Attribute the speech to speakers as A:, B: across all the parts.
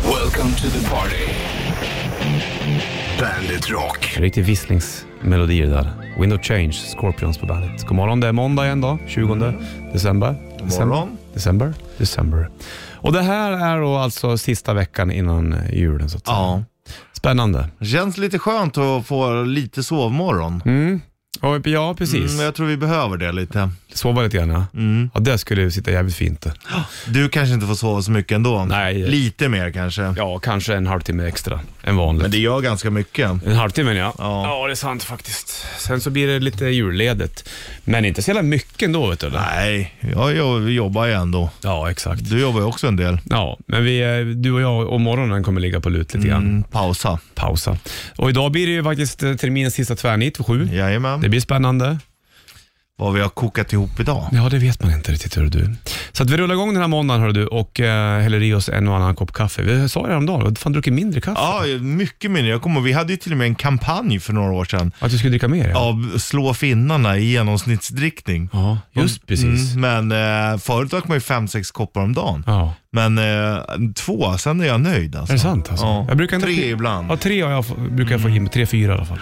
A: Welcome to the party. Bandit Rock.
B: Riktig visslingsmelodier där. Window Change, Scorpions på bandet. God morgon, det är måndag igen då, 20 december.
C: Mm. God
B: december.
C: morgon.
B: December. December. Och det här är då alltså sista veckan innan julen så att säga.
C: Ja.
B: Spännande.
C: Känns lite skönt att få lite sovmorgon.
B: Mm. Och, ja, precis.
C: Mm, jag tror vi behöver det lite.
B: Sova lite grann ja.
C: Mm.
B: ja. Det skulle ju sitta jävligt fint det.
C: Du kanske inte får sova så mycket ändå.
B: Nej.
C: Lite mer kanske.
B: Ja, kanske en halvtimme extra än vanligt.
C: Men det gör ganska mycket.
B: En halvtimme ja.
C: Ja.
B: det är sant faktiskt. Sen så blir det lite julledigt. Men inte så jävla mycket ändå vet du. eller?
C: Nej, jag jo- jobbar ju ändå.
B: Ja, exakt.
C: Du jobbar ju också en del.
B: Ja, men vi, eh, du och jag och morgonen kommer ligga på lut lite grann.
C: Mm, pausa.
B: Pausa. Och idag blir det ju faktiskt eh, terminens sista tvärnit för sju. Det
C: Jajamän.
B: blir spännande.
C: Vad vi har kokat ihop idag.
B: Ja, det vet man inte riktigt hör du. Så att vi rullar igång den här måndagen hör du och eh, häller i oss en och annan kopp kaffe. Vi sa det häromdagen, du har fan druckit mindre kaffe.
C: Ja, mycket mindre. Jag kommer, vi hade ju till och med en kampanj för några år sedan
B: Att du skulle dricka mer?
C: av slå finnarna i genomsnittsdrickning.
B: ja just precis.
C: Mm, men eh, förut drack man ju fem, sex koppar om dagen.
B: Ja.
C: Men eh, två, sen är jag nöjd alltså.
B: Är det sant alltså?
C: Ja.
B: Jag brukar ändå-
C: Tre Mm. ibland.
B: Ja, tre har jag, få- brukar jag få in. Tre, fyra i alla fall.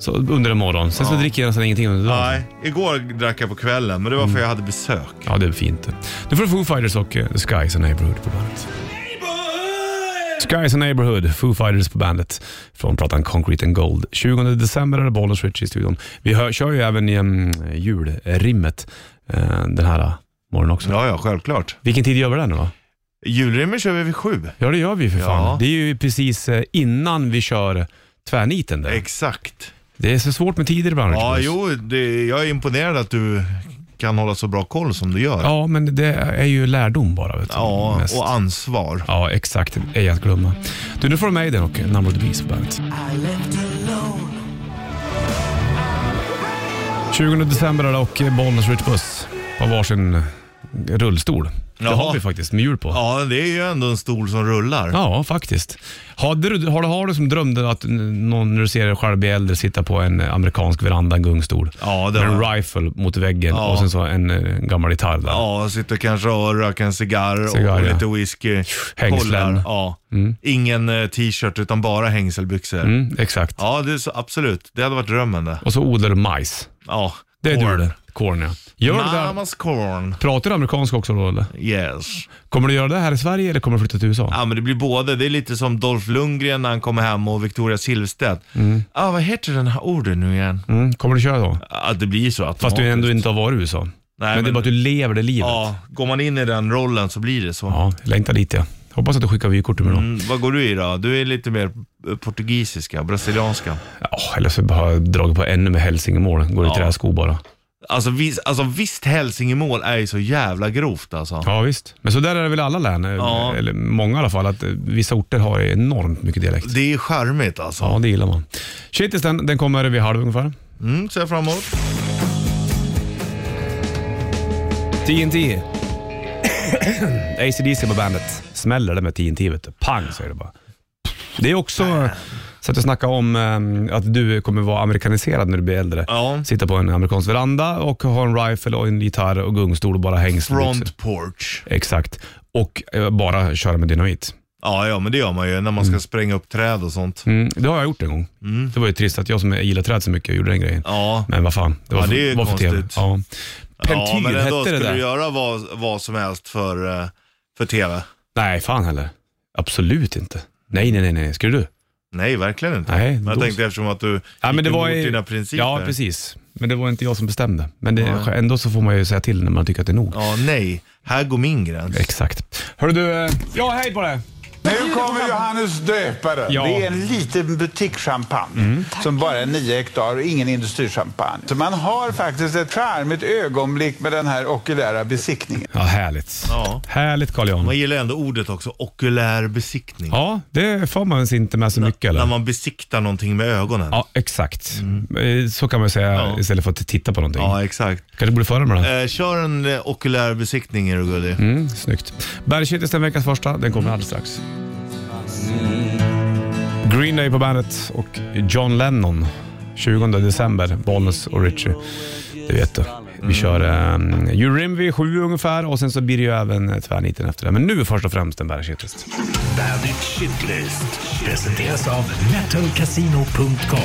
B: Så under en morgon. Sen så dricker jag nästan ingenting under dagen.
C: Nej, igår drack jag på kvällen, men det var för jag hade besök.
B: Mm. Ja, det är fint. Nu får du Foo Fighters och eh, The Skies and Neighborhood på bandet. Skies and Neighborhood, Foo Fighters på bandet från plattan Concrete and Gold. 20 december är det Bollnäs Rich i studion. Vi hör, kör ju även um, julrimmet eh, den här eh, morgonen också.
C: Ja, ja, självklart.
B: Vilken tid gör vi den nu då?
C: Julrimmen kör vi vid sju.
B: Ja, det gör vi för fan.
C: Ja.
B: Det är ju precis eh, innan vi kör tvärniten där.
C: Exakt.
B: Det är så svårt med tider ibland. Rich
C: Ja,
B: Puss.
C: jo, det, jag är imponerad att du kan hålla så bra koll som du gör.
B: Ja, men det är ju lärdom bara. Vet du,
C: Ja,
B: mest.
C: och ansvar.
B: Ja, exakt. Det är att glömma. Du, nu får du med den och Number of the Beast på bandet. 20 december är det och Bollnäs Rich Buss har varsin rullstol. Det
C: Jaha.
B: har vi faktiskt med hjul på. Ja.
C: Ja, det är ju ändå en stol som rullar.
B: faktiskt. Hade du, har, du, har du som drömde att någon, när du ser dig själv bli äldre, sitta på en amerikansk veranda, en gungstol?
C: Ja, det
B: med
C: har
B: en
C: jag.
B: rifle mot väggen
C: Ja.
B: och sen så en eh, gammal gitarr där.
C: Ja, sitter kanske och röker en cigarr och
B: Cigarr, ja.
C: lite whisky.
B: Hängslen.
C: Kollar. Ja. Ingen eh, t-shirt utan bara hängselbyxor.
B: Mm, exakt.
C: Ja, det är så, absolut. Det hade varit drömmen det.
B: Och så odlar du majs.
C: Ja.
B: Det är
C: corn.
B: du det. Corn ja. Gör du det där,
C: Mamas corn.
B: pratar du amerikanska också då eller?
C: Yes.
B: Kommer du göra det här i Sverige eller kommer du flytta till USA?
C: Ja, men det blir både. Det är lite som Dolph Lundgren när han kommer hem och Victoria Silvstedt. Ah, vad heter den här orden nu igen?
B: Mm, kommer du köra då?
C: Ja, det blir så att
B: Fast du ändå inte har varit i USA. men, det är
C: men-
B: bara att du lever det livet. Ja.
C: Ja, går man in i den rollen så blir det så.
B: jag längtar dit ja. Hoppas att du skickar vykortet med dem.
C: Mm, vad går du i då? Du är lite mer eh, portugisiska, brasilianska.
B: Ja, eller så har jag dragit på ännu med hälsingemål. Går i
C: Ja.
B: träskor bara.
C: Alltså, vis, alltså visst hälsingemål är ju så jävla grovt alltså.
B: Ja visst. Men så där är det väl i alla län, eh,
C: Ja.
B: eller många i alla fall, att eh, vissa orter har enormt mycket dialekt.
C: Det är charmigt alltså.
B: Ja, det gillar man. Shitlist den, den kommer vid halv ungefär.
C: Mm, ser jag fram emot.
B: TNT. ACDC på bandet. Smäller det med TNT vet du. Pang säger det bara. Det är också, så att jag snackade om eh, att du kommer vara amerikaniserad när du blir äldre.
C: Ja.
B: Sitta på en amerikansk veranda och ha en rifle och en gitarr och gungstol och bara hängslen.
C: Front porch.
B: Exakt. Och eh, bara köra med dynamit.
C: Ja, ja, men det gör man ju när man ska spränga upp träd och sånt.
B: Mm, det har jag gjort en gång.
C: Mm.
B: Det var ju trist att jag som gillar träd så mycket gjorde den grejen.
C: Ja.
B: Men vad fan, det var,
C: Ja,
B: för-
C: det är
B: var för tv.
C: konstigt.
B: Ja. Pentyr
C: ja, men
B: hette
C: ändå
B: det
C: skulle
B: där.
C: du göra vad, vad som helst för, eh, för tv.
B: Nej, fan heller. Absolut inte. Nej, nej, nej, nej. Skulle du?
C: Nej, verkligen inte.
B: Nej,
C: men jag
B: då-
C: tänkte eftersom att du
B: Ja, men
C: gick
B: det var
C: emot
B: ju-
C: dina principer.
B: Ja, precis. Men det var inte jag som bestämde. Men det,
C: Nej.
B: ändå så får man ju säga till när man tycker att det är nog.
C: Ja, nej. Här går min gräns.
B: Exakt. Hörru du, eh, ja hej på dig!
D: Nu kommer Johannes döparen.
B: Ja.
D: Det är en liten butikschampagne som bara är 9 hektar och ingen industrichampagne. Så man har faktiskt ett charmigt ögonblick med den här okulära besiktningen.
B: Ja, härligt.
C: Ja.
B: Härligt carl Johan.
C: Man gillar ändå ordet också, okulär besiktning.
B: Ja, det får man sig inte med så mycket
C: När
B: eller?
C: man besiktar någonting med ögonen.
B: Ja, exakt. Eh, Så kan man ju säga
C: Ja.
B: istället för att titta på någonting.
C: Ja, exakt.
B: Kanske borde föra med den.
C: Eh, kör en eh, okulär besiktning är du gullig.
B: Mm, snyggt. Bergkittis den veckans första, den kommer alldeles strax. Green Day på bandet och John Lennon. 20 december, Bollnäs och Richie. Det vet du. Vi kör um, Urim vid sju ungefär och sen så blir det ju även eh, tvärniten efter det. Men nu först och främst en bärkittlist.
A: Bandit Shitlist presenteras av metalcasino.com.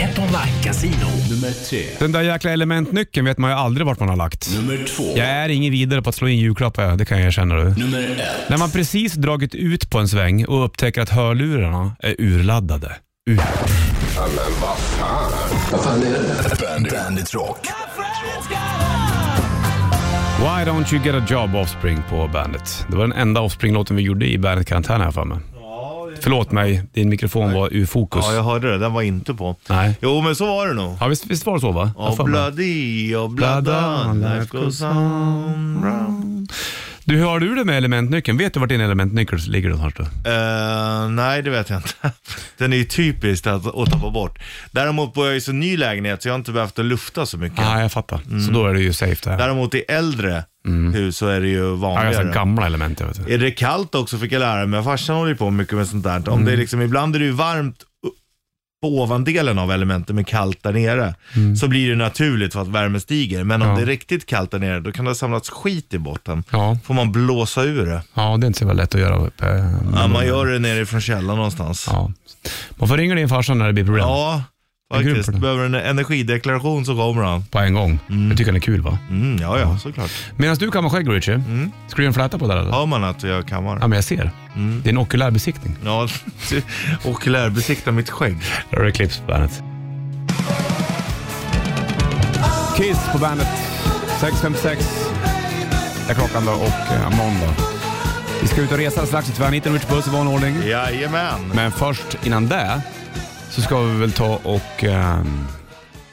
A: Ett online-casino. Nummer tre.
B: Den där jäkla elementnyckeln vet man ju aldrig vart man har lagt.
A: Nummer två.
B: Jag är ingen vidare på att slå in julklappar, det kan jag erkänna du.
A: Nummer ett.
B: När man precis dragit ut på en sväng och upptäcker att hörlurarna är urladdade. Ur.
A: Bandit, Bandit Rock.
B: Why don't you get a job Offspring på bandet? Det var den enda Offspring-låten vi gjorde i bandet karantän här för mig. Förlåt mig, din mikrofon var ur fokus.
C: Ja, jag hörde det. Den var inte på.
B: Nej.
C: Jo, men så var det nog.
B: Ja, visst, visst var det så va? Jag har för
C: Oh
B: mig.
C: bloody, oh blada, life goes on. round.
B: Du, hur har du det med elementnyckeln? Vet du vart din elementnyckel ligger någonstans? då?
C: Eh, nej, det vet jag inte. Den är ju typiskt att, att tappa bort. Däremot bor jag i så ny lägenhet så jag har inte behövt att lufta så mycket.
B: Ja, ah, jag fattar. Så då är det ju safe det här.
C: Däremot i äldre hus så är det ju
B: Mm. Ja, jag har
C: vanligare.
B: så gamla element. Jag vet. inte.
C: Är det kallt också fick jag lära mig. Farsan håller ju på mycket med sånt där. Om
B: Mm.
C: det är liksom, ibland är det ju varmt u- på ovandelen av elementen men kallt där nere. Så blir det naturligt för att värmen stiger. Men om
B: Mm. Ja.
C: det är riktigt kallt där nere då kan det ha samlats skit i botten.
B: Ja.
C: Får man blåsa ur det.
B: ja, det är inte så jävla lätt att göra. uppe, eh,
C: Ja, man gör det nere från källan någonstans. Ja,
B: Ja. Man får ringa din farsa när det blir problem. Jag är grym
C: faktiskt.
B: på det.
C: Behöver en energideklaration så kommer han.
B: På en gång. Jag tycker den är kul va?
C: Mm, ja, ja, såklart.
B: Medan du kammar skägg Richie, ska du göra en fläta på det där eller?
C: Hör man att jag kammar?
B: Ja, men jag ser. Det är en okulär besiktning.
C: Ja, okulärbesikta mitt skägg.
B: Där har du Clips på bandet. Kiss på bandet. 6.56 är klockan då och eh, måndag. Vi ska ut och resa strax i tvärniten, Richard Puss i vanlig ordning.
C: Jajamän.
B: Men först innan det så ska vi väl ta och ehm,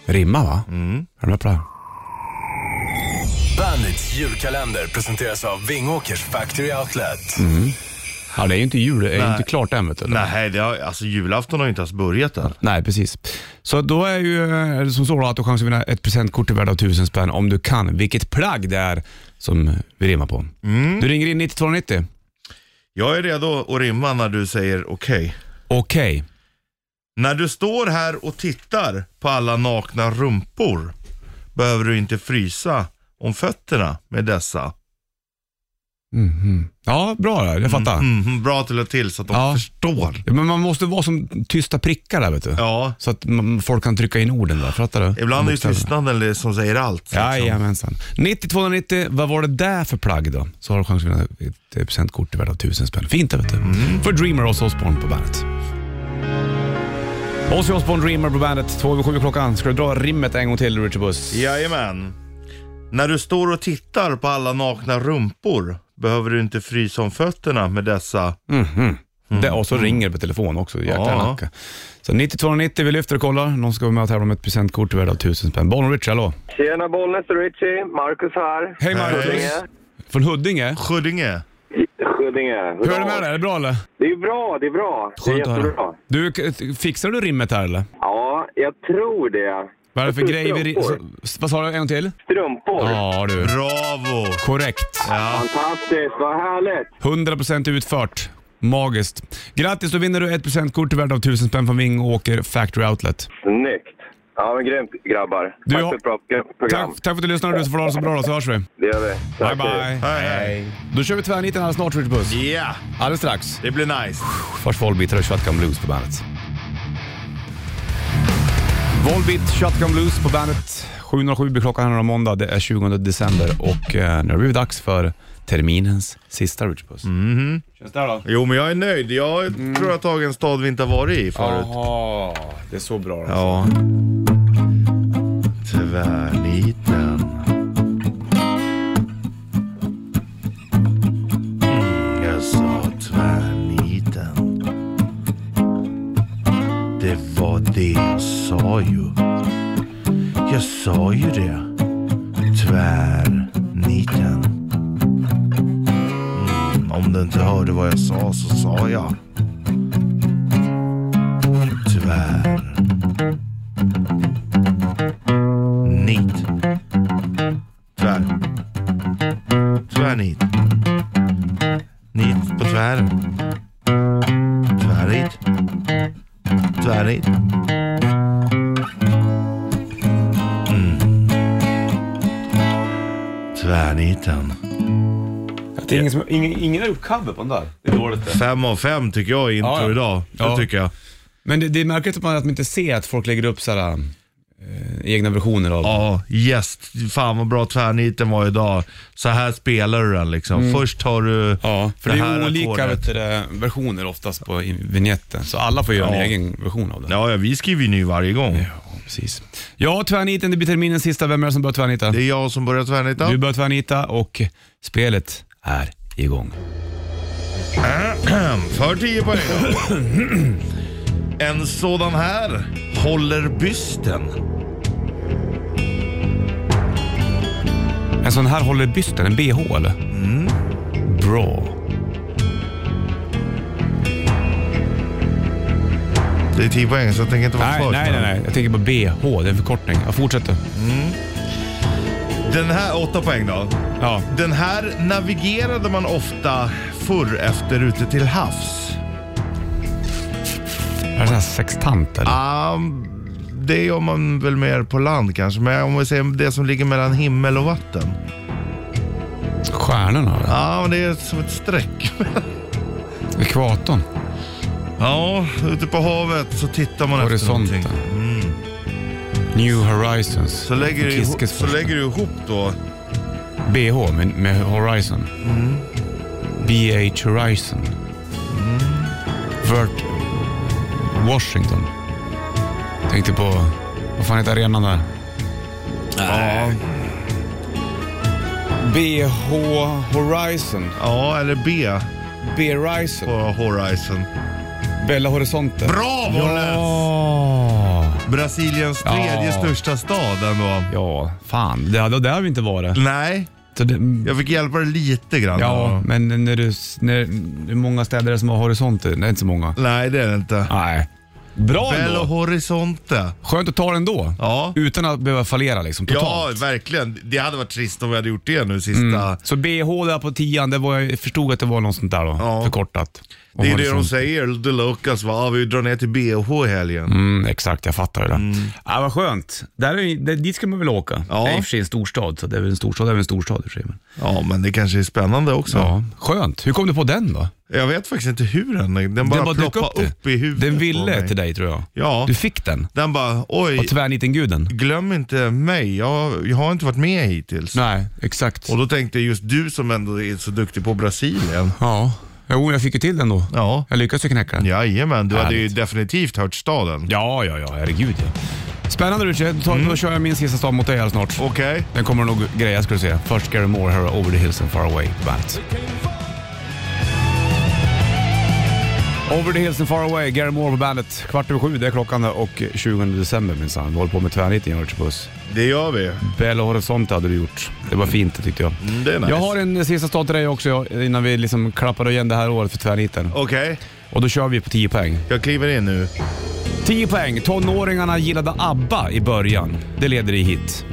B: rimma va? Mm. Är du med på det? här?
A: Bandits julkalender presenteras av Vingåkers Factory Outlet.
B: Ja, det är ju inte jul, det är ju inte klart än vet du.
C: Nej, det har, alltså julafton har ju inte ens börjat än.
B: Nej, precis. Så då är ju eh, som så då att du har chans att vinna ett presentkort till värde av 1000 spänn om du kan vilket plagg det är som vi rimmar på.
C: Mm.
B: Du ringer in 9290.
C: Jag är redo att rimma när du säger okej.
B: Okej.
C: När du står här och tittar på alla nakna rumpor behöver du inte frysa om fötterna med dessa.
B: Ja, bra där. Jag fattar.
C: Mhm, bra till och till så att de
B: Ja.
C: förstår.
B: Men man måste vara som tysta prickar där vet du.
C: Ja,
B: Så att man, folk kan trycka in orden där. Fattar du?
C: ibland är ju
B: Bokstäverna.
C: tystnaden det som säger allt. liksom.
B: Jajamensan. 90-290, vad var det där för plagg då? Så har du chans att vinna ett eh, presentkort till värde av 1000 spänn. Fint det vet du. För Dreamer och Osbourne på bandet. Ozzy Osbourne Dreamer på bandet, två över sju klockan. Ska du dra rimmet en gång till Richard Buss?
C: Mm. Jajamän. När du står och tittar på alla nakna rumpor behöver du inte frysa om fötterna med dessa.
B: Det, och så ringer det på telefon också. Jäklar
C: Ja.
B: nacka. Så 90-290, vi lyfter och kollar. Någon ska vara med och tävla om ett presentkort till värde av 1000 spänn. Bollen Richard, hallå.
E: Tjena Bollnäs och Richie, Marcus här.
B: Hej Marcus.
E: Huddinge.
B: Från Huddinge.
C: Huddinge.
E: Huddinge.
B: Hur är det med dig? Är det bra eller?
E: Det är bra, det är bra. Det är
B: att höra.
E: jättebra.
B: Du, k- fixar du rimmet här eller?
E: Ja, jag tror det.
B: Vad är det för
E: Jag tror
B: grej vi... ri-
E: strumpor.
B: så- Vad sa du? En gång till?
E: Strumpor.
B: Ja du.
C: Bravo.
B: Korrekt.
C: Ja.
E: Fantastiskt, vad härligt.
B: 100% utfört. Magiskt. Grattis, då vinner du ett presentkort till värde av 1000 spänn från Vingåker Factory Outlet.
E: Snyggt. Ja, men grymt grabbar.
B: Du
E: Tack
B: har-
E: för ett bra
B: Tack,
E: program.
B: tack för att du lyssnade du får ha det så bra då, så hörs vi.
E: Det gör vi.
B: Bye
E: Tack.
B: bye.
C: Hej, hej.
B: Då kör vi tvärniten alldeles snart Richard Puss.
C: Ja,
B: Alldeles strax.
C: det blir nice.
B: Först Volbeat och Shotgun Blues på bandet. Volbeat, Shotgun Blues på bandet. 7.07 blir klockan här på måndag. Det är 20 december och eh, nu har det blivit dags för terminens sista Richard Puss. Känns det här då?
C: Jo, men jag är nöjd. Jag tror jag har tagit en stad vi inte har varit i förut.
B: Jaha, det är så bra. alltså.
C: Ja. Tvärniten. Mm, jag sa tvärniten. Det var det jag sa ju. Jag sa ju det. Tvärniten. Mm, om du inte hörde vad jag sa så sa jag. Tvär. Nit. Tvär. Tvärnit. Nit på tvären. Tvärnit. Tvärnit. Mm. Mm. Tvärnitan.
F: Det är ingen, som, ingen, ingen har gjort cover på den där. Det är dåligt det.
C: Fem av fem tycker jag är intro
B: Ja, ja.
C: idag. Det
B: Ja.
C: tycker jag.
B: Men det, det är märkligt att man, att man inte ser att folk lägger upp sådär, eh, egna versioner av
C: Ja, yes. Fan vad bra tvärniten var idag. Så här spelar du den liksom. Först har du
B: Mm. Ja, för det, är
C: här
B: ju olika
C: ackordet.
B: vet du, det, versioner oftast på i- vignetten så alla får göra
C: Ja.
B: en egen version av det.
C: Ja, ja, vi skriver ju ny varje gång.
B: precis. Ja, tvärniten, det blir terminens sista. Vem är det som börjar tvärnita?
C: Det är jag som börjar tvärnita.
B: Du börjar tvärnita och spelet är igång.
C: För 10 poäng då. En sådan här håller bysten.
B: En sån här håller bysten, en bh eller? Mm. Bra.
C: Det är 10 poäng så jag tänker inte vara
B: Nej,
C: först,
B: nej, nej,
C: men-
B: nej. Jag tänker på bh, det är en förkortning. Jag fortsätter.
C: Den här, 8 poäng då.
B: Ja.
C: Den här navigerade man ofta förr efter ute till havs.
B: Är det sån här sextant eller?
C: Ja, Ah, det gör man väl mer på land kanske. Men om vi säger det som ligger mellan himmel och vatten.
B: Stjärnorna eller?
C: Ja, men det är som ett streck.
B: Ekvatorn?
C: Ja, ute på havet så tittar man efter
B: Horisonten?
C: någonting.
B: New Horizons?
C: Mm. Så lägger, du ihop,
B: Kiskes
C: så
B: första.
C: lägger du ihop då.
B: BH med, med Horizon.
C: Mm.
B: BH Horizon. Vert... Washington. Tänkte på... Vad fan heter arenan där? BH Horizon.
C: Ja, eller B på
B: B-Horizon.
C: Horizon.
B: Bella Horizonte.
C: Bra Bollnäs!
B: Ja!
C: Brasiliens tredje
B: Ja.
C: största stad ändå.
B: Ja, fan. Det, det, där har vi inte varit.
C: Nej,
B: Så det,
C: jag fick hjälpa dig lite grann.
B: ja,
C: då.
B: men när du... s- När, hur många städer är det som har horisonter? Det är inte så många.
C: Nej, det är det inte.
B: Nej. Bra
C: Belo
B: ändå.
C: Horizonte.
B: Skönt att ta den då.
C: Ja.
B: Utan att behöva fallera liksom
C: Ja,
B: totalt. Mm.
C: verkligen. Det hade varit trist om vi hade gjort det nu sista.
B: Så BH där på tian, det var, jag förstod att det var något sånt där då.
C: Ja.
B: Förkortat. Och
C: Det är
B: har
C: det de
B: liksom-
C: säger, The Locals, va? Ja, vi drar ner till BH i helgen.
B: Mm, exakt, jag fattar det där. Ja, vad skönt. Där är, ju- där, dit ska man väl åka.
C: Mm. Ja.
B: Det är i och för sig en storstad, så det är väl en storstad det är väl en storstad i och för sig. Men...
C: Ja, men det kanske är spännande också.
B: Ja, skönt. Hur kom du på den då?
C: Jag vet faktiskt inte hur den, den bara,
B: bara dök
C: ploppade upp,
B: upp det.
C: i huvudet
B: Den
C: på
B: ville
C: mig.
B: till dig tror jag.
C: Ja,
B: Du fick den.
C: den bara,
B: Och
C: oj,
B: tvärnitenguden.
C: glöm inte mig. Jag, jag har inte varit med hittills.
B: Nej, exakt.
C: Och då tänkte jag just du som ändå är så duktig på Brasilien.
B: Ja, jo jag fick ju till den då.
C: Ja.
B: Jag lyckades ju knäcka den.
C: Jajamän, du hade ju
B: Härligt.
C: definitivt hört staden.
B: Ja, ja, ja, herregud ja. Spännande Richard. Då, mm. då kör jag min sista stad mot dig här snart.
C: Okej.
B: Den kommer nog greja ska du se. Först Gary Moore här, Over the Hills and Far Away på bandet. Over the Hills and Far Away, Gary Moore på bandet. Kvart över sju, det är klockan där och 20 december minsann. Vi håller på med tvärniten, Richard Puss.
C: Det gör vi.
B: Belo Horizonte hade du gjort. Det var fint det tyckte jag.
C: Mm, Det är nice.
B: Jag har en eh, sista stad till dig också ja, innan vi liksom klappar igen det här året för tvärniten.
C: Okej,
B: Och då kör vi på 10 poäng.
C: jag kliver in nu.
B: 10 poäng. Tonåringarna gillade ABBA i början. Det leder dig hit.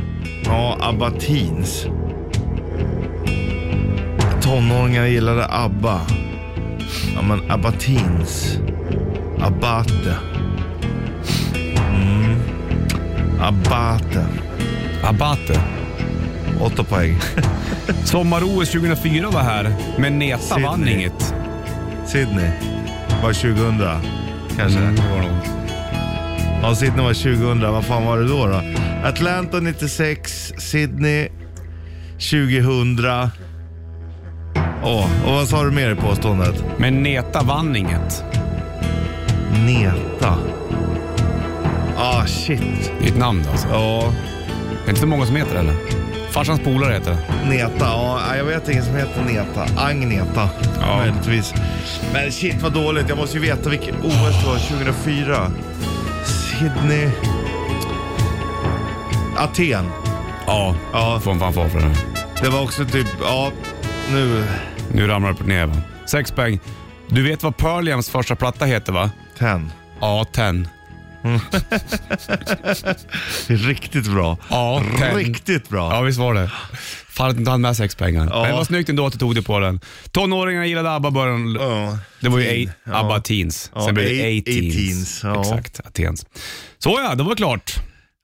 C: Ja, Abba Teens. Tonåringar gillade ABBA. Ja, men Abba Teens. Abate. Mm. Abate.
B: Abate.
C: Åtta poäng.
B: Sommar-OS 2004 var här, men Neta
C: Sydney.
B: vann inget.
C: Sydney var 2000 kanske.
B: Mm.
C: Ja, Sydney var 2000. Vad fan var det då? då? Atlanta 96, Sydney 2000. Åh, och vad sa du mer i påståendet?
B: Men Neta vann inget.
C: Neta. Ah, shit.
B: Det är ett namn alltså.
C: Ja,
B: Det är inte så många som heter det eller? Farsans polare heter det.
C: Neta. Ja, nej, jag vet ingen som heter Neta. Agneta,
B: Ja.
C: möjligtvis. Men shit vad dåligt. Jag måste ju veta vilket OS det var 2004. Sydney. Aten.
B: Ja,
C: Ja,
B: får en fanfar för det.
C: det var också typ, ja, nu
B: Nu ramlar det ner va. Sex poäng. Du vet vad Pearl Jams första platta heter va?
C: ten.
B: A-10.
C: Riktigt bra.
B: A-10.
C: Riktigt bra.
B: Ja, visst var det. Fan att inte han med sex pengar.
C: Ja.
B: Men det var snyggt ändå att du tog det på den. Tonåringarna gillade ABBA i början.
C: Ja.
B: Det var ju
C: Teen.
B: A- ABBA Teens. Sen
C: Ja,
B: blev
C: A-
B: det A-Teens.
C: A-teens, ja.
B: Exakt, Atens. Så ja, det var klart.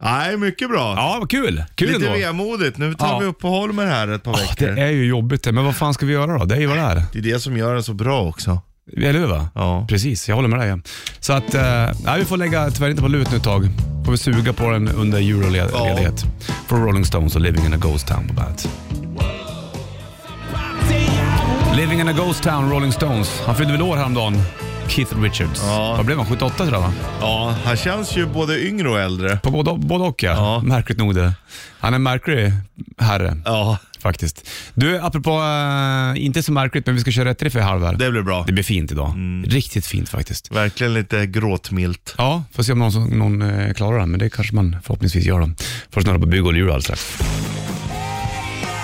C: Nej, mycket bra.
B: Ja, vad kul. Kul
C: Lite
B: ändå.
C: vemodigt. Nu tar
B: Ja.
C: vi upp på Holmer här ett par
B: Ah, det
C: veckor.
B: är ju jobbigt det, men vad fan ska vi göra då? Det är ju vad det är.
C: Det är det som gör den så bra också.
B: Eller hur va?
C: Ja.
B: Precis, jag håller med dig. ja. Så att, eh, nej, vi får lägga tyvärr inte på lut nu ett tag. Får vi suga på den under julledighet. Från Rolling Stones och Living in a Ghost Town på bandet. Living in a Ghost Town, Rolling Stones. Han fyllde väl år häromdagen, Keith Richards.
C: Ja.
B: Vad blev han? 78 tror jag va?
C: Ja, han känns ju både yngre och äldre.
B: På både, både och ja.
C: Ja.
B: Märkligt nog det. Han är en märklig herre.
C: Ja,
B: Faktiskt. Du, apropå, eh, inte så märkligt, men vi ska köra rätt riff i halv här.
C: det Mm. blir bra.
B: Det blir fint idag. Riktigt fint faktiskt.
C: Verkligen lite gråtmilt.
B: Ja, får se om någon, som- någon eh, klarar det, men det kanske man förhoppningsvis gör. Då. Får snurra på bygg och lur alldeles strax.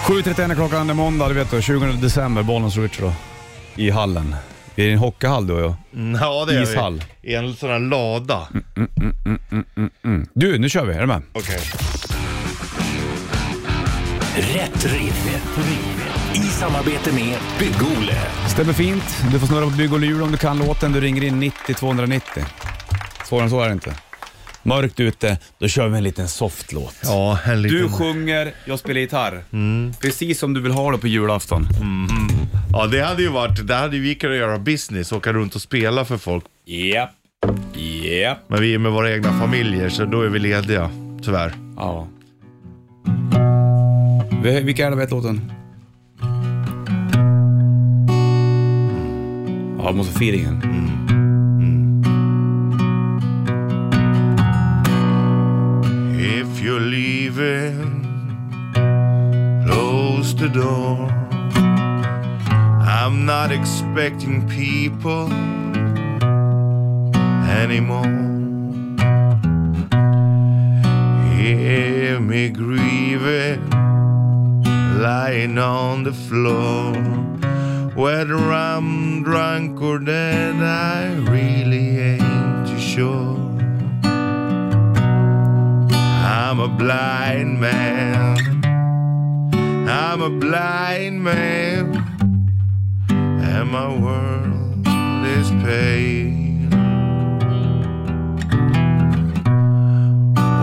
B: 7.31 är klockan, det är måndag, du vet du. 20 december, Bollnäs och Richard då, i hallen. Vi är i en hockeyhall du och jag.
C: Mm, Ja, det är
B: Ishall.
C: vi. I en sån här lada.
B: Du, nu kör vi. Är du med?
C: Okej.
A: Rätt riff. I samarbete med Bygg-Ole.
B: Stämmer fint. Du får snurra på bygg och lur om du kan låten. Du ringer in 90 290. Svårare än så är det inte. Mörkt ute, då kör vi en liten soft låt.
C: Ja, en liten...
B: Du sjunger, jag spelar gitarr. Precis som du vill ha det på julafton.
C: Ja, det hade ju varit... Det hade vi kunnat göra business, åka runt och spela för folk.
B: Japp. Japp.
C: Men vi är med våra egna familjer, så då är vi lediga. Tyvärr.
B: Ja. Vi- Vilka är det vet låten? Ja, jag måste få feelingen.
C: If you're leaving, close the door. I'm not expecting people anymore. Hear me grieving, lying on the floor. Whether I'm drunk or dead, I really ain't too sure. I'm a blind man. I'm a blind man. And my world is pale.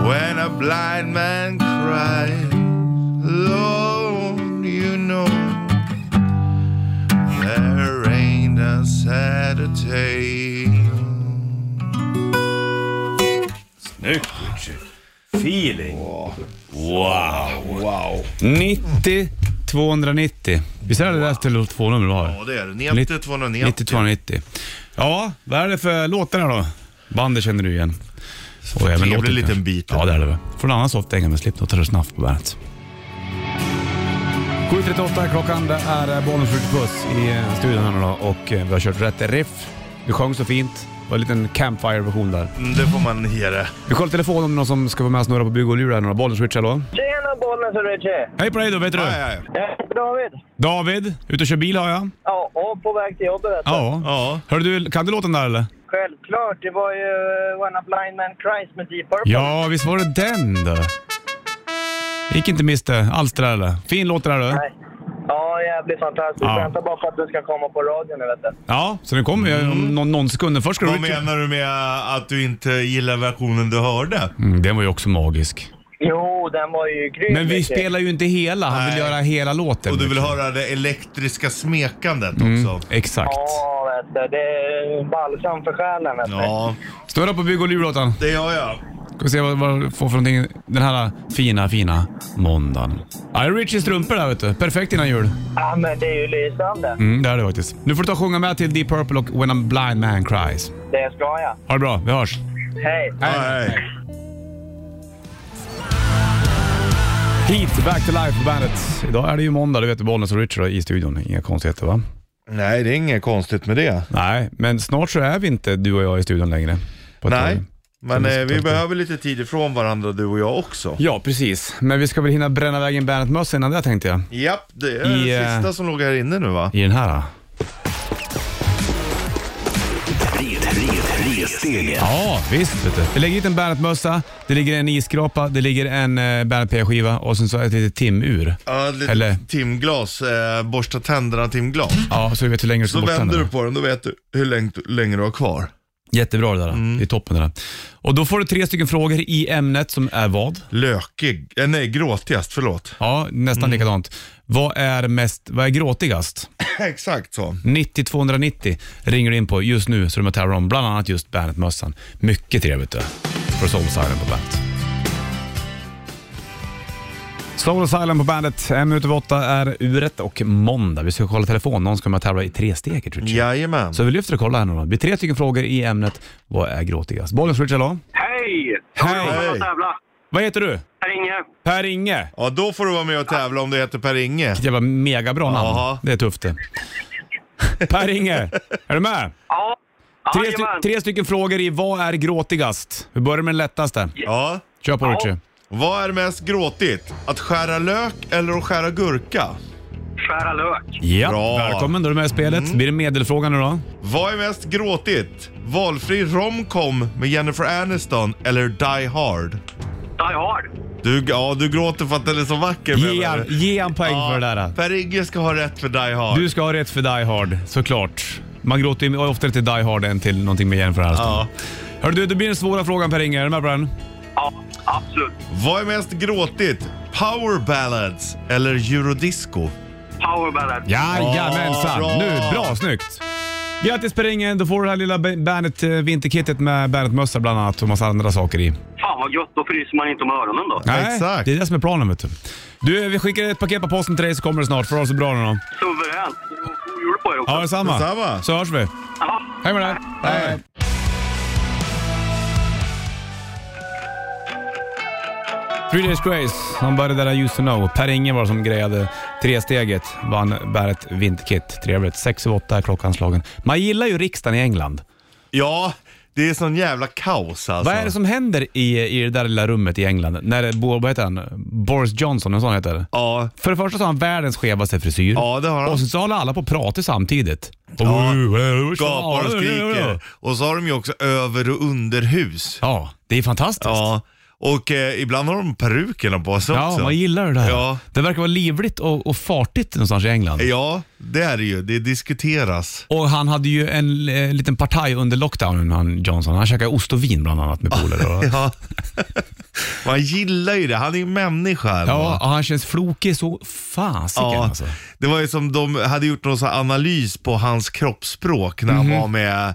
C: When a blind man cries, Lord, you know there ain't a sadder tale.
F: Snyggt Richie. Feeling.
B: Wow. wow. 90 290. Visst är det rätt till telefonnummer du har?
C: Ja, det är det.
B: 90
C: 90 290.
B: 90 290. Ja, vad är det för låtar här då? Bandet känner du igen. Och även
C: trevlig
B: låten
C: liten
B: kanske.
C: bit.
B: Ja, det är det väl. Från en annan soft dänga med Slipknot eller Snuff på bandet. 7.38 är klockan, det är Bollnäs Puss i eh, studion här nu då och eh, vi har kört rätt riff. Du sjöng så fint. Det var en liten campfire-version där.
C: Mm, Det får man ge det.
B: Vi kollar telefon om någon som ska vara med och snurra på bygg och lura här nu då. Bollnäs Rich, hallå?
G: Tjena Bollnäs och Richie!
B: Hej på dig då, vet du?
G: Jag heter David.
B: David, ute och kör bil har jag.
G: Ja, och på väg till jobbet. vet du.
B: Ja.
C: Ja.
B: Hör du, kan du låten där eller?
G: Självklart, det var ju eh, When a blind man cries med Deep Purple.
B: Ja, visst var det den då? Gick inte miste alls det där eller? Fin låt det där du.
G: Nej. Ja, jävligt fantastiskt.
B: Ja.
G: Väntar bara på att du ska komma på radion nu vet du.
B: Ja, så den kommer ju
C: Mm.
B: om någon, någon sekund. Först ska du
C: Vad
B: ut.
C: menar du med att du inte gillar versionen du hörde?
B: Mm, den var ju också magisk.
G: Jo, den var ju grym.
B: Men vi
G: Richie.
B: spelar ju inte hela. Han vill
C: Nej.
B: göra hela låten.
C: Och du vill
B: liksom.
C: höra det elektriska smekandet
B: Mm.
C: också?
B: Exakt.
G: Ja, vet du. Det är balsam för själen vet du.
C: Ja,
B: Störa på bygg och lurlåten.
C: det gör jag.
B: Ska vi se vad, vad du får för någonting. Den här fina, fina måndagen. Ja, det är Richies strumpor där vet du. Perfekt innan jul.
G: Ja, men det är ju lysande.
B: Mm, det är det faktiskt. Nu får du ta och sjunga med till Deep Purple och When a blind man cries.
G: Det ska jag.
B: Ha det bra, vi hörs.
G: Hej!
C: Ja, hej.
B: Heat, Back to Life på bandet. Idag är det ju måndag, du vet Bollnäs och Richard i studion. Inga konstigheter va?
C: Nej, det är inget konstigt med det.
B: Nej, men snart så är vi inte du och jag i studion längre. På ett
C: Nej,
B: tag.
C: men
B: Så
C: eh,
B: vi ska
C: vi
B: ta-
C: behöver lite tid ifrån varandra du och jag också.
B: Ja, precis. Men vi ska väl hinna bränna iväg en Bandet-mössa innan det tänkte jag.
C: Japp, det är
B: I,
C: den
B: eh,
C: sista som låg här inne nu va?
B: I den här. då.
A: Red, red, resstegen.
B: Ja, visst vet du. Det ligger hit en Bandet-mössa, det ligger en isskrapa, det ligger en eh, Bandet P-skiva och sen så ett litet timur.
C: Ja, lite
B: Eller-
C: timglas, eh, borsta tänderna timglas.
B: Ja, så du vet hur länge du ska
C: Så
B: borsta
C: vänder
B: den.
C: du på den, då vet du hur länge, länge du har kvar.
B: Jättebra det där. Det är toppen det där. Och då får du tre stycken frågor i ämnet som är vad?
C: Lökig, eh, nej gråtigast, förlåt.
B: Ja, nästan likadant. Vad är mest, vad är gråtigast?
C: Exakt så.
B: 90 290 ringer du in på just nu så du med tävlar om bland annat just Bandet-mössan. Mycket trevligt du. För Soul Asylum på Bandet. Soul Asylum på Bandet. En minut över åtta är uret och måndag. Vi ska kolla telefon. Någon ska med tävla i tre steg tror jag.
C: Jajamän.
B: Så vi lyfter och kollar här nu då. Vi är tre stycken frågor i ämnet Vad är gråtigast? Bollens Richard, hallå?
E: Hej!
B: Hej!
C: Hej.
E: Tävla!
B: Vad heter du?
E: Här inne.
B: Per-Inge.
C: Ja, då får du vara med och tävla om du heter Per-Inge.
B: Jävla megabra namn.
C: Jaha.
B: Det är tufft det. Per-Inge, är du med?
E: Ja.
B: Tre, sty- tre stycken frågor i vad är gråtigast? Vi börjar med den lättaste.
C: Ja.
B: Kör på Richie.
C: Vad är mest gråtigt? Att skära lök eller att skära gurka?
E: Skära lök.
B: Ja,
C: Bra. Mm.
B: välkommen. Då är du med i spelet. Blir det medelfrågan nu då?
C: Vad är mest gråtigt? Valfri romcom med Jennifer Aniston eller Die Hard?
E: Die hard.
C: Du, ja, du gråter för att den är så vacker.
B: Ge
C: menar
B: han,
C: du?
B: ge han poäng
C: Ja,
B: för det där.
C: Per-Inge ska ha rätt för Die Hard.
B: Du ska ha rätt för Die Hard, såklart. Man gråter ju oftare till Die Hard än till någonting med Jennifer Aniston.
C: Ja.
B: Hör du, det blir den svåra frågan Per-Inge. Är du med på den?
E: Ja, absolut.
C: Vad är mest gråtigt? Power ballads eller eurodisco?
E: Power ballad.
B: Jajamensan!
C: bra.
B: Nu, bra, snyggt! Grattis Per-Inge, då får du det här lilla Bandet eh, vinterkittet med Bandet-mössa bland annat och massa andra saker i.
E: Fan vad gött, då fryser man inte om öronen då.
B: Nej,
C: Exakt.
B: Det är det som är planen vet du. Du, vi skickar ett paket på posten till dig så kommer det snart. Får ha det så bra nu då.
E: Suveränt. God jul på er också.
B: Ja, detsamma.
C: Detsamma.
B: Så hörs vi.
E: Ja.
B: Hej med dig.
C: Hej.
B: Three Days Grace, Somebody That I Used To Know. Per Inge var det som grejade tresteget, vann bäret vinterkit. Trevligt. Sex över åtta är klockan slagen. Man gillar ju riksdagen i England.
C: Ja, det är sån jävla kaos alltså.
B: Vad är det som händer i, i det där lilla rummet i England? När det, bo- vad heter han? Boris Johnson, en sån heter det.
C: Ja,
B: För det första så har han världens skevaste frisyr.
C: ja det har han.
B: Och sen så håller alla på och pratar samtidigt.
C: Gapar och skriker. Och så har de ju också över och underhus.
B: Ja, det är fantastiskt. Ja,
C: Ja, och eh, ibland har de perukerna på sig också.
B: man gillar det där.
C: Ja.
B: Det verkar vara livligt och, och fartigt någonstans i England.
C: Ja, det är det ju. Det diskuteras.
B: Och han hade ju en eh, liten partaj under lockdownen, han Johnson. Han käkade ost och vin bland annat med polare. Ja,
C: Ja. Man gillar ju det. Han är ju människa. ändå.
B: ja och han känns flokig så fasiken
C: Ja,
B: alltså.
C: det var ju som de hade gjort någon sån här analys på hans kroppsspråk när
B: Mhm.
C: han var med,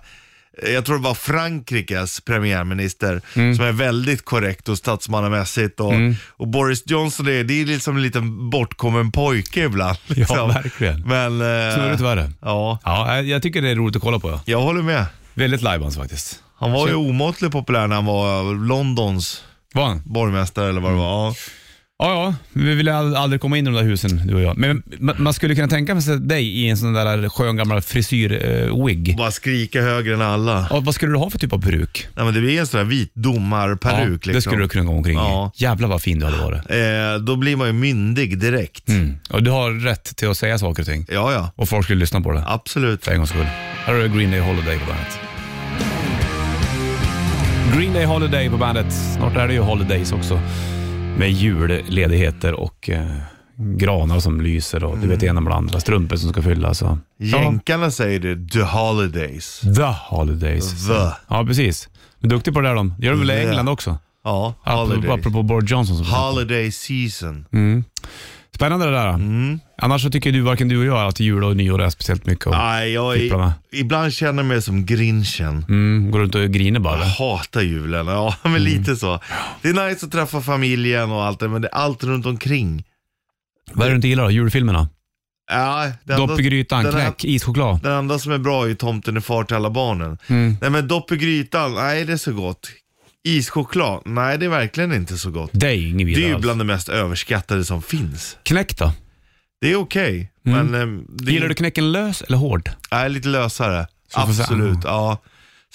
C: jag tror det var Frankrikes premiärminister,
B: Mm.
C: som är väldigt korrekt och statsmannamässigt. Och, och Boris Johnson är, det är liksom en liten bortkommen pojke ibland. Liksom.
B: verkligen.
C: Men, eh,
B: Snurrigt värre.
C: Ja,
B: Ja, eh, jag tycker det är roligt att kolla på. ja.
C: jag håller med.
B: Väldigt lajbans faktiskt.
C: Han var ju omåttligt populär när han var Londons
B: Var han?
C: borgmästare eller vad det var. Ja.
B: Ja, ja. Vi ville ald- aldrig komma in i de där husen, du och jag. Men ma- man skulle kunna tänka sig dig i en sån där skön gammal frisyr-wig.
C: Bara skrika högre än alla.
B: Ja, vad skulle du ha för typ av peruk?
C: Nej, men det blir en sån här vit domarperuk.
B: ja,
C: liksom.
B: Det skulle du kunna gå omkring
C: Ja.
B: i. Jävlar vad fin du hade varit.
C: Eh, då blir man ju myndig direkt.
B: Mm. Och du har rätt till att säga saker och ting.
C: Ja, ja.
B: Och folk skulle lyssna på det.
C: Absolut.
B: För en gångs skull. Här har du Green Day Holiday på bandet. Green Day Holiday på bandet. Snart är det ju Holidays också. Med julledigheter och eh, granar som lyser och
C: Mm.
B: du vet ena med det andra. Strumpor som ska fyllas och...
C: Jänkarna säger det, the holidays.
B: The Holidays.
C: The.
B: Ja, precis. Men duktig på det där de. Det gör de väl i
C: The.
B: England också?
C: Ja,
B: Apropå,
C: holidays.
B: apropå Mm. Boris Johnson. Som
C: Holiday season.
B: Spännande det där.
C: Mm.
B: Annars så tycker du, varken du och jag att jul och nyår är speciellt mycket. Och,
C: Nej, jag är,
B: Fipplarna.
C: ibland känner jag mig som grinchen.
B: mm, går runt och griner bara.
C: Jag hatar julen, ja men lite
B: Mm.
C: så. Det är nice att träffa familjen och allt det, men det är allt runt omkring.
B: Vad är det du inte gillar då? Julfilmerna?
C: Ja, det enda-
B: Dopp i grytan,
C: den här-
B: knäck, ischoklad.
C: Den enda som är bra är ju tomten är far till alla barnen.
B: Mm.
C: Nej men dopp i grytan, nej det är så gott. Ischoklad, nej det är verkligen inte så gott.
B: Det är inget
C: Det är
B: vidare
C: ju bland
B: alls.
C: det mest överskattade som finns.
B: Knäck då?
C: Det är okej, men ehm, det
B: Mm. Gillar du knäcken lös eller hård?
C: är lite lösare.
B: Så får vi säga-
C: Absolut, ja.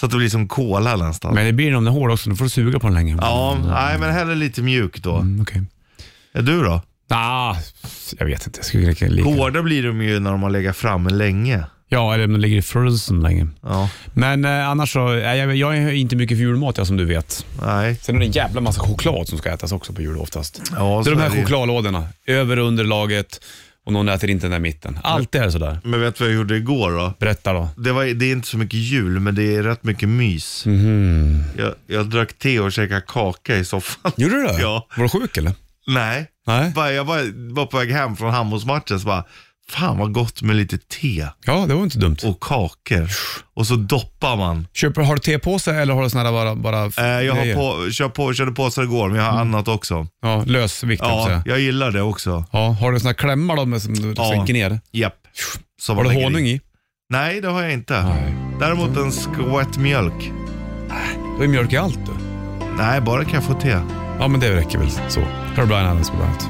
C: Så att det blir som kola nästan.
B: Men det blir om den är hård också, då får du suga på den länge.
C: Ja, nej men hellre lite mjuk då.
B: Mm, Okej.
C: Är du då?
B: Ah, jag vet inte. Jag skulle kunna lika.
C: Hårda blir de ju när de har legat framme länge.
B: Ja, eller om den ligger i frozen länge.
C: Ja,
B: Men eh, annars så, eh, jag, jag är inte mycket för julmat jag som du vet.
C: nej.
B: Sen är det en jävla massa choklad som ska ätas också på jul oftast.
C: Ja,
B: Så
C: så
B: de här
C: är det ju.
B: chokladlådorna, över och underlaget. och någon äter inte den där mitten. Alltid är det sådär.
C: Men vet du vad jag gjorde igår då?
B: Berätta då.
C: Det, var, det är inte så mycket jul, men det är rätt mycket mys. Jag, jag drack te och käkade kaka i soffan.
B: Mhm. Gjorde du det?
C: Ja.
B: Var du sjuk eller?
C: Nej.
B: Nej.
C: Bara, jag var, var på väg hem från handbollsmatchen så bara, fan vad gott med lite te
B: Ja, det var inte dumt.
C: och kakor. Och så doppar man.
B: Köper, har du tepåse eller har du sådana bara... bara
C: Eh, jag har
B: grejer?
C: på, kör på, körde påsar igår, men jag har annat också.
B: Ja, lösvikt ja.
C: Ja,
B: Mm. säga.
C: jag gillar det också.
B: Ja, har du såna här klämmar då med, som du
C: Ja.
B: sänker ner?
C: Japp. Som
B: Har
C: man
B: du
C: lägger
B: honung i?
C: Nej, det har jag inte.
B: Nej.
C: Däremot en skvätt mjölk.
B: Då är mjölk i allt du.
C: Nej, bara kaffe och te.
B: Ja, men det räcker väl så. Här är Brian Adams på bandet.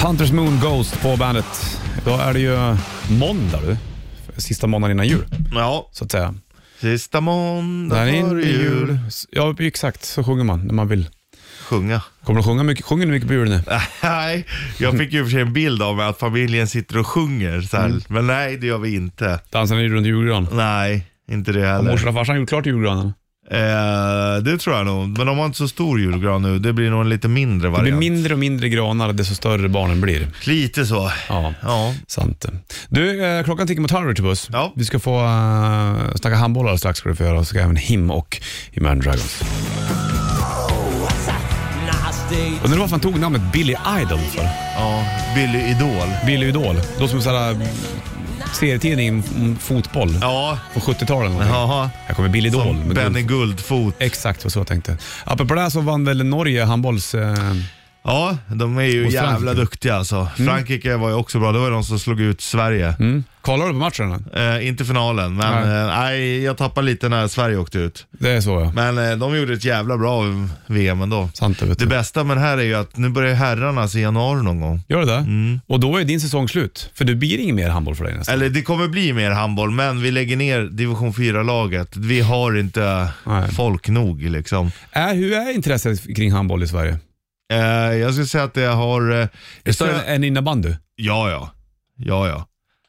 B: Hunters Moon Ghost på bandet. Idag är det ju måndag du. Sista måndagen innan jul,
C: Ja,
B: så att säga.
C: sista måndag
B: Där
C: före
B: inne i
C: jul.
B: Ja, exakt. Så sjunger man när man vill.
C: Sjunga.
B: Kommer du sjunga mycket? Sjunger du mycket på julen nu?
C: Nej, jag fick ju i och för sig en bild av mig att familjen sitter och sjunger. Så
B: Mm.
C: här. Men nej, det gör vi inte.
B: Dansar ni runt julgran?
C: Nej, inte det
B: Har
C: heller.
B: morsan och farsan gjort klart julgranen?
C: Eh, det tror jag nog. Men de har inte så stor julgran nu. Det blir nog en lite mindre
B: Det
C: variant.
B: blir mindre och mindre granar desto större barnen blir.
C: Lite så.
B: Ja,
C: Ja.
B: sant det. Du, eh, klockan tickar mot halv Richard Puss.
C: Ja.
B: Vi ska få uh, snacka handboll alldeles strax ska du få göra. Och så ska även Him och Imagine Dragons. Undrar varför han tog namnet Billy Idol för?
C: ja. Billy Idol.
B: Billy Idol. Då som såhär eh, serietidning om fotboll.
C: Ja.
B: På 70-talet eller någonting.
C: Jaha.
B: Här kommer Billy Idol.
C: Som
B: med
C: Benny
B: guld.
C: Guldfot.
B: Exakt, det var så jag tänkte. Apropå det här så vann väl Norge handbolls... Eh,
C: Ja, de är ju
B: Och
C: jävla
B: Frankrike.
C: duktiga alltså. Frankrike var ju också bra. Det var ju de som slog ut Sverige.
B: mm. Kollar du på matchen? eller?
C: Eh, inte finalen, men
B: Nej.
C: eh, nej, jag tappade lite när Sverige åkte ut.
B: Det är så ja.
C: Men eh, de gjorde ett jävla bra VM ändå.
B: Sant det vet
C: Det
B: du.
C: bästa med det här är ju att nu börjar herrarnas i januari någon gång.
B: Gör det? Och då är din säsong slut. För det blir ingen mer handboll för dig nästan.
C: Mm. Eller det kommer bli mer handboll, men vi lägger ner division 4-laget. Vi har inte
B: Nej.
C: folk nog liksom.
B: Är, Äh, hur är intresset kring handboll i Sverige? Är
C: Eh, jag skulle säga att det har... eh,
B: det
C: jag
B: större
C: skulle-
B: än innebandy?
C: Ja, ja. Ja, ja.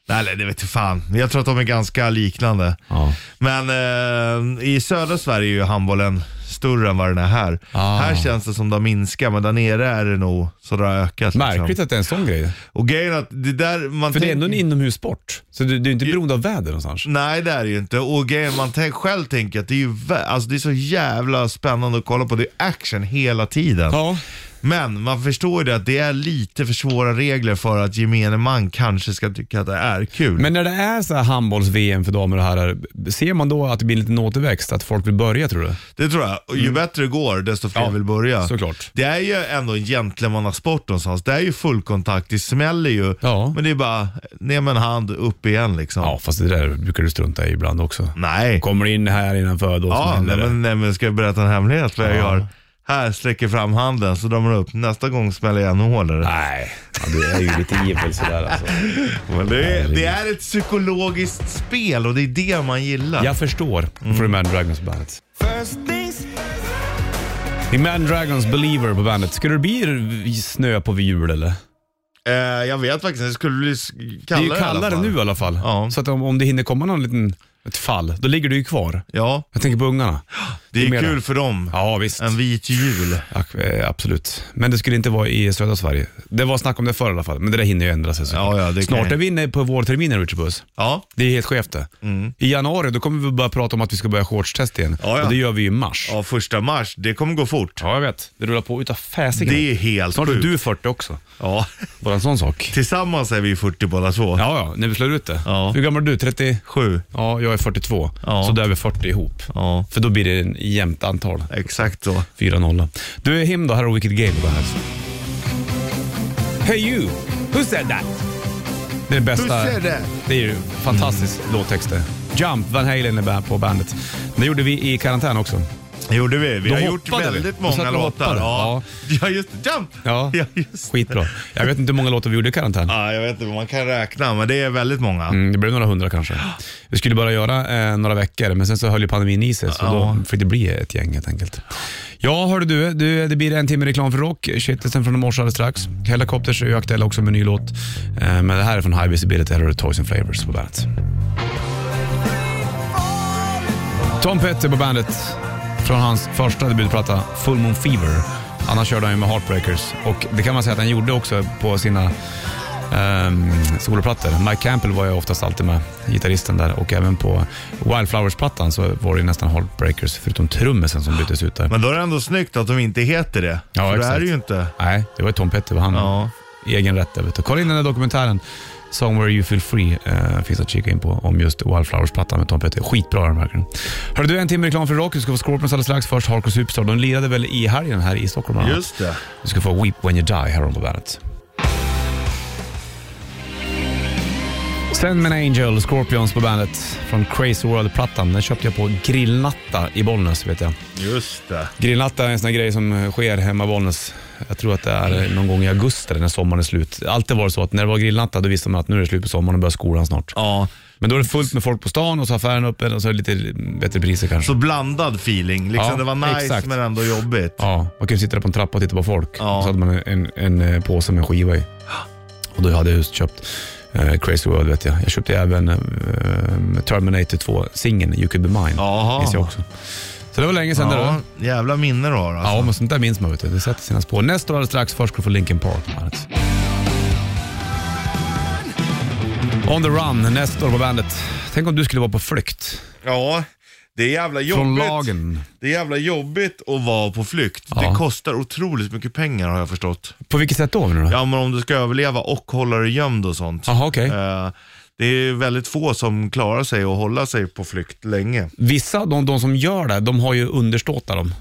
C: Nej, nej, det vet jag fan. Jag tror att de är ganska liknande.
B: Ja.
C: Men eh, i södra Sverige är ju handbollen större än vad den är här.
B: Ah.
C: Här känns det som det har minskat, men där nere är det nog så det har ökat.
B: Märkligt
C: Liksom.
B: att det är en sån grej.
C: Och grejen är att det där man
B: För det är
C: tänker-
B: ändå en inomhussport. Så det, det är inte beroende av väder någonstans.
C: Nej det är det ju inte. Och grejen man tänk, själv tänker att det är ju vä- alltså, det är så jävla spännande att kolla på. Det är action hela tiden.
B: Ja.
C: Men man förstår ju det att det är lite för svåra regler för att gemene man kanske ska tycka att det är kul.
B: Men när det är så här handbolls-VM för damer och herrar, ser man då att det blir en liten återväxt? Att folk vill börja tror du?
C: Det tror jag. Och ju bättre det går, desto fler
B: Mm. Ja,
C: vill börja.
B: såklart.
C: Det är ju ändå en gentlemannasport någonstans. Det är ju fullkontakt, det smäller ju.
B: Ja.
C: Men det är bara ner med en hand, upp igen liksom.
B: Ja, fast det där brukar du strunta i ibland också.
C: Nej.
B: Kommer in här innanför då
C: Ja,
B: så händer
C: nej,
B: det.
C: men, nej, men ska jag berätta en hemlighet vad jag
B: Ja.
C: gör? Här sträcker fram handen, så drar man upp. Nästa gång smäller jag ännu hårdare.
B: Nej, ja, du är ju lite evil sådär alltså.
C: Men det, är, det är ett psykologiskt spel och det är det man gillar.
B: Jag förstår. Mm. För Man Dragons på bandet. Man Dragons Believer på bandet. Ska det bli snö på vid jul eller?
C: Eh, jag vet faktiskt, det skulle bli s-
B: Det är
C: kallare
B: ju kallare nu i alla fall.
C: Ja.
B: Så att om, om det hinner komma någon liten ett fall, då ligger du ju kvar.
C: Ja,
B: Jag tänker på ungarna.
C: det
B: Du menar?
C: är kul för dem.
B: Ja, visst.
C: En vit jul.
B: Ja, eh, absolut. Men det skulle inte vara i södra Sverige. Det var snack om det förr i alla fall, men det där hinner ju ändra sig. så.
C: Ja, ja, det
B: Snart
C: kan-
B: är vi inne på vårterminen, Richard Puss.
C: Ja.
B: Det är helt skevt det. I januari då kommer vi börja prata om att vi ska börja shortstest igen.
C: Mm. Ja, ja.
B: Och det gör vi i mars.
C: Ja, första mars. Det kommer gå fort.
B: Ja, jag vet. Det rullar på utav fäsingen.
C: Det är helt
B: Snart är
C: sjukt.
B: du 40 också.
C: Ja.
B: Bara en sån sak.
C: Tillsammans är vi 40 båda två.
B: Ja, ja, när vi slår ut det.
C: Ja.
B: Hur gammal är du? 30?
C: Sju.
B: Ja, jag är 42.
C: Ja.
B: Så där är vi 40 ihop.
C: Ja.
B: För då blir det en jämnt antal.
C: Exakt så.
B: 4-0. Du är hem då, här har Wicked Game på bandet. Hey you! Who said that? Det är bästa.
C: Who said that? Mm.
B: Det är ju fantastisk låttext det. Jump, Van Halen är band på bandet. Det gjorde vi i karantän också.
C: Det gjorde vi. Vi
B: Då
C: har gjort
B: hoppade vi.
C: väldigt
B: Då satt vi
C: många
B: och
C: låtar.
B: hoppade.
C: Ja. ja, just det. Jump!
B: Ja,
C: just det.
B: skitbra. Jag vet inte hur många låtar vi gjorde i karantän.
C: Ja, jag vet inte, man kan räkna, men det är väldigt många.
B: Mm, det blev några hundra kanske. Vi skulle bara göra eh, några veckor, men sen så höll ju pandemin i sig, så
C: Ja.
B: då fick det bli ett gäng helt enkelt. Ja, hörde du, du det blir en timme reklam för rock. Shitlisten från i morse alldeles strax. Helicopters är ju aktuella också med en ny låt. Eh, men det här är från High Visibility, här har du Toys and Flavors på bandet. Tom Petty på bandet, från hans första debutplatta Full Moon Fever. Annars körde han ju med Heartbreakers. Och det kan man säga att han gjorde också på sina ehm, soloplattor. Mike Campbell var ju oftast alltid med, gitarristen där. Och även på Wildflowers-plattan så var det ju nästan Heartbreakers, förutom trummisen som byttes ut där.
C: Men då är det ändå snyggt att de inte heter det.
B: Ja,
C: För det här
B: exakt.
C: är ju inte...
B: Nej, det var ju Tom Petty, det var han.
C: Ja.
B: egen rätt. där, Vet du. Kolla in den här dokumentären. Somewhere You Feel Free eh, finns att kika in på om just Wildflowers-plattan med Tom Petty. Skitbra är den verkligen. Hörde du, en timme reklam för rock. Du ska få Scorpions alldeles strax. Först Hardcore Superstar. De lirade väl i helgen här i Stockholm bland annat.
C: Just det.
B: Du ska få Weep When You Die här på bandet. Send Me An Angel, Scorpions på bandet från Crazy World-plattan. Den köpte jag på Grillnatta i Bollnäs vet jag.
C: Just det.
B: Grillnatta är en sån här grej som eh, sker hemma i Bollnäs. Jag tror att det är eh, någon gång i augusti när sommaren är slut. Alltid var det så att när det var grillnatta då visste man att nu är det slut på sommaren och börjar skolan snart.
C: Ja.
B: Men då är det fullt med folk på stan och så har affären öppen och så är det lite bättre priser kanske.
C: Så blandad feeling. Liksom
B: Ja,
C: det var nice
B: exakt.
C: men ändå jobbigt.
B: Ja, man kunde sitta där på en trappa och titta på folk.
C: Ja.
B: Och så hade man en, en eh, påse med skiva i. Och då hade jag just köpt eh, Crazy World vet jag. Jag köpte även eh, Terminator 2 singeln You Could Be Mine.
C: Jaha.
B: Minns jag också. Så det var länge sedan det var.
C: Ja, jävla minne du har alltså.
B: Ja, men sånt där minns man. Vet du. Det sätter sina spår. Nästa år alldeles strax. Först ska du få Linkin Park. på bandet. On the run, nästa år på bandet. Tänk om du skulle vara på flykt
C: Ja, det är jävla jobbigt.
B: från lagen.
C: Det är jävla jobbigt att vara på flykt.
B: Ja.
C: Det kostar otroligt mycket pengar har jag förstått.
B: På vilket sätt då? menar du?
C: Ja, men om du ska överleva och hålla dig gömd och sånt.
B: Jaha, okej.
C: Eh, det är väldigt få som klarar sig och hålla sig på flykt länge.
B: Vissa, de, de som gör det, de har ju underståtar dem.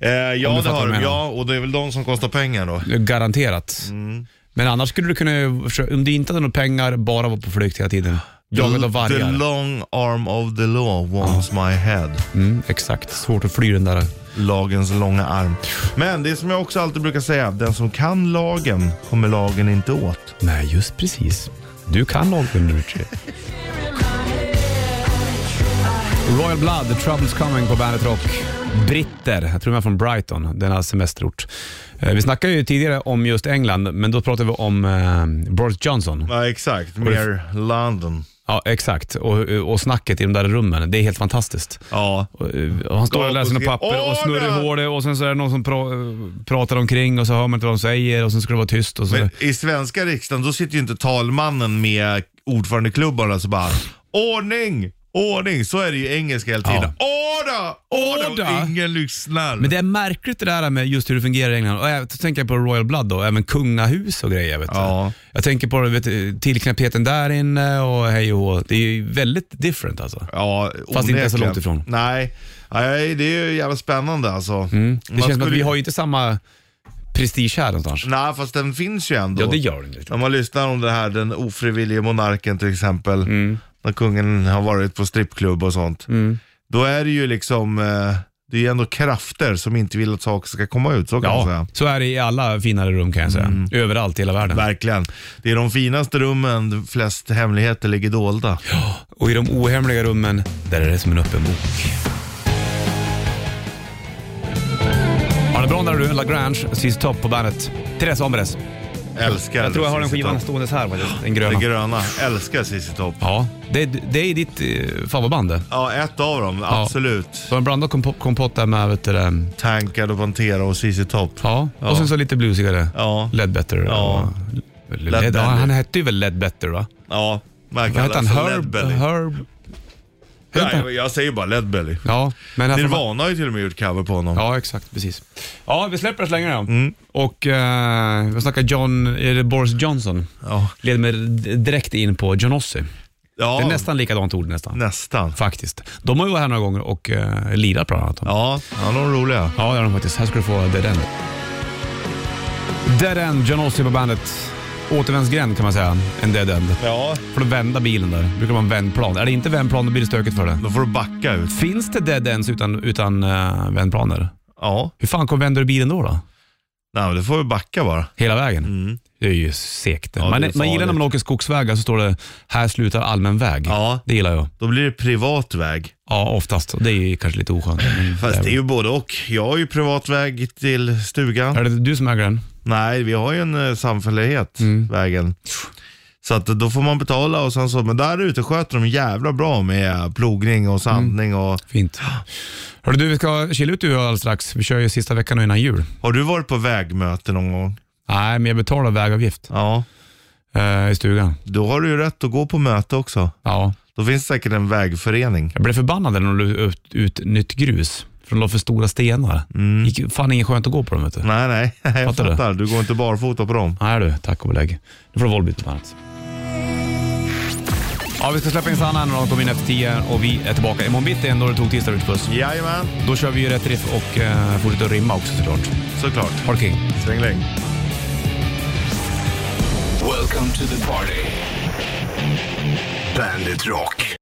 C: Eh,
B: Om
C: ja,
B: du
C: det
B: fattar vad
C: har
B: jag
C: de.
B: menar.
C: Ja, och det är väl de som kostar pengar då.
B: Garanterat.
C: Mm.
B: Men annars skulle du kunna, försöka- om du inte hade några pengar, bara vara på flykt hela tiden. Jagad av
C: The
B: vargar.
C: long arm of the law wants my head.
B: Mm, exakt. Svårt att fly den där.
C: Lagens långa arm. Men det är som jag också alltid brukar säga, den som kan lagen kommer lagen inte åt.
B: Nej, just precis. Du kan Lagman Ritchie. Royal Blood, The Troubles Coming på Bandet Rock. Britter, jag tror de är från Brighton, denna semesterort. Eh, Vi snackade ju tidigare om just England, men då pratade vi om eh, Boris Johnson.
C: Ja, exakt. Mer London.
B: Ja, exakt. Och, och snacket i de där rummen, det är helt fantastiskt.
C: Ja.
B: Och, eh, och han står och läser något papper och snurrar i håret och sen så är det någon som pra- pratar omkring och så hör man inte vad de säger och sen ska det vara tyst och så.
C: Men i svenska riksdagen, då sitter ju inte talmannen med ordförandeklubbarna så bara ordning, ordning. Så är det ju i engelska hela tiden. Order, order.
B: Order.
C: Och ingen lyssnar.
B: Men det är märkligt det där med just hur det fungerar i England. Och jag, så tänker jag på Royal Blood då, även kungahus och grejer. Vet du.
C: Ja.
B: Jag tänker på vet, du, tillknäpptheten där inne och hej och hå. Det är ju väldigt different alltså.
C: Ja,
B: Fast inte så
C: onekligen.
B: långt ifrån.
C: Nej. Nej, det är ju jävla spännande alltså.
B: Mm. Det känns som att vi har ju inte samma prestige här någonstans.
C: Nej, fast den finns ju ändå.
B: Ja, det gör det inte.
C: När man lyssnar om det här, den ofrivillige monarken till exempel,
B: Mm.
C: när kungen har varit på strippklubb och sånt. Då är det ju liksom, eh, det är ju ändå krafter som inte vill att saker ska komma ut, så kan man säga. Mm.
B: Ja, så är det i alla finare rum kan jag säga. Överallt i hela världen.
C: Verkligen. Det är de finaste rummen, de flest hemligheter ligger dolda.
B: Och i de ohemliga rummen, där är det som en öppen bok. Ha det bra där du, Lagrange, sist topp på bandet. Therese Omberes.
C: Älskar
B: Jag tror jag har den
C: ZZ
B: skivan
C: Top.
B: ståendes här faktiskt, den gröna.
C: Den gröna. Älskar ZZ Top.
B: Ja, det, det är ditt eh, favoritband det.
C: Ja, ett av dem. Absolut.
B: Så en blandad kompo- kompott där med, vet du det,
C: Tankad och Pantera och ZZ Top.
B: ja. och sen så lite bluesigare.
C: Ja.
B: Ledbetter.
C: Ja.
B: Och, Led,
C: Ledbelly.
B: ja, han hette ju väl Ledbetter va?
C: Ja, Alltså, man
B: Vad hette
C: kallar
B: han?
C: för
B: Herb?
C: Ledbelly.
B: Herb? hette han?
C: Nej, jag säger bara Ledbelly.
B: Ja, men här får man-
C: Nirvana har ju till och med gjort cover på honom.
B: Ja, exakt. Precis. Ja, vi släpper det så länge då. Och eh, vi snackar John, är det Boris Johnson.
C: Ja.
B: Leder mig d- direkt in på John Ossie.
C: Ja,
B: Det är nästan likadant ord nästan.
C: nästan.
B: Faktiskt. De har ju varit här några gånger och eh, lirat bland annat.
C: Ja, han är roliga.
B: Ja, det har de faktiskt. Här ska du få Dead End. Dead End, John Ossie på bandet. Återvändsgränd kan man säga, en dead end.
C: Ja.
B: Får du vända bilen där. brukar man vändplan. Är det inte vändplan då blir det stökigt för det.
C: Då får du backa ut.
B: Finns det dead ends utan, utan eh, vändplaner?
C: Ja,
B: Hur fan kom, vänder du bilen då? då?
C: nej men du får ju backa bara.
B: Hela vägen? Det är ju segt.
C: Mm. det
B: man,
C: är
B: man
C: farligt.
B: gillar när man åker skogsvägar så står det “Här slutar allmän väg”.
C: Ja.
B: Det gillar jag.
C: Då blir det privat väg.
B: Ja, oftast. Det är ju kanske lite oskönt. men
C: Fast det är ju både och. Jag har ju privat väg till stugan.
B: Är det du som äger den?
C: Mm. Nej, vi har ju en eh, samfällighet, vägen. Så att då får man betala och sen så, men där ute sköter de jävla bra med plogning och sandning och...
B: Fint. Hörru du, vi ska kila ut du och jag alldeles strax. Vi kör ju sista veckan nu innan jul.
C: Har du varit på vägmöte någon gång?
B: Nej, men jag betalar vägavgift
C: Ja.
B: eh, i stugan.
C: Då har du ju rätt att gå på möte också.
B: Ja.
C: Då finns det säkert en vägförening.
B: Jag blev förbannad när de la ut, ut nytt grus. För de la för stora stenar. Mm. gick fan inget skönt att gå på dem. Vet du.
C: Nej, nej, jag
B: Fattar du?
C: fattar. Du går inte barfota på dem.
B: Nej du, tack och belägg. Nu får du Volbeat på bandet. Ja, vi ska släppa in Sanna när de kommer in efter tio och vi är tillbaka imorgon bitti ändå det tog tisdag ut puss.
C: Jajamän,
B: Då kör vi ju rätt riff och eh, fortsätter att rimma också såklart.
C: såklart.
B: Ha det king.
C: Strängläng.
A: Welcome to the party. Bandit Rock.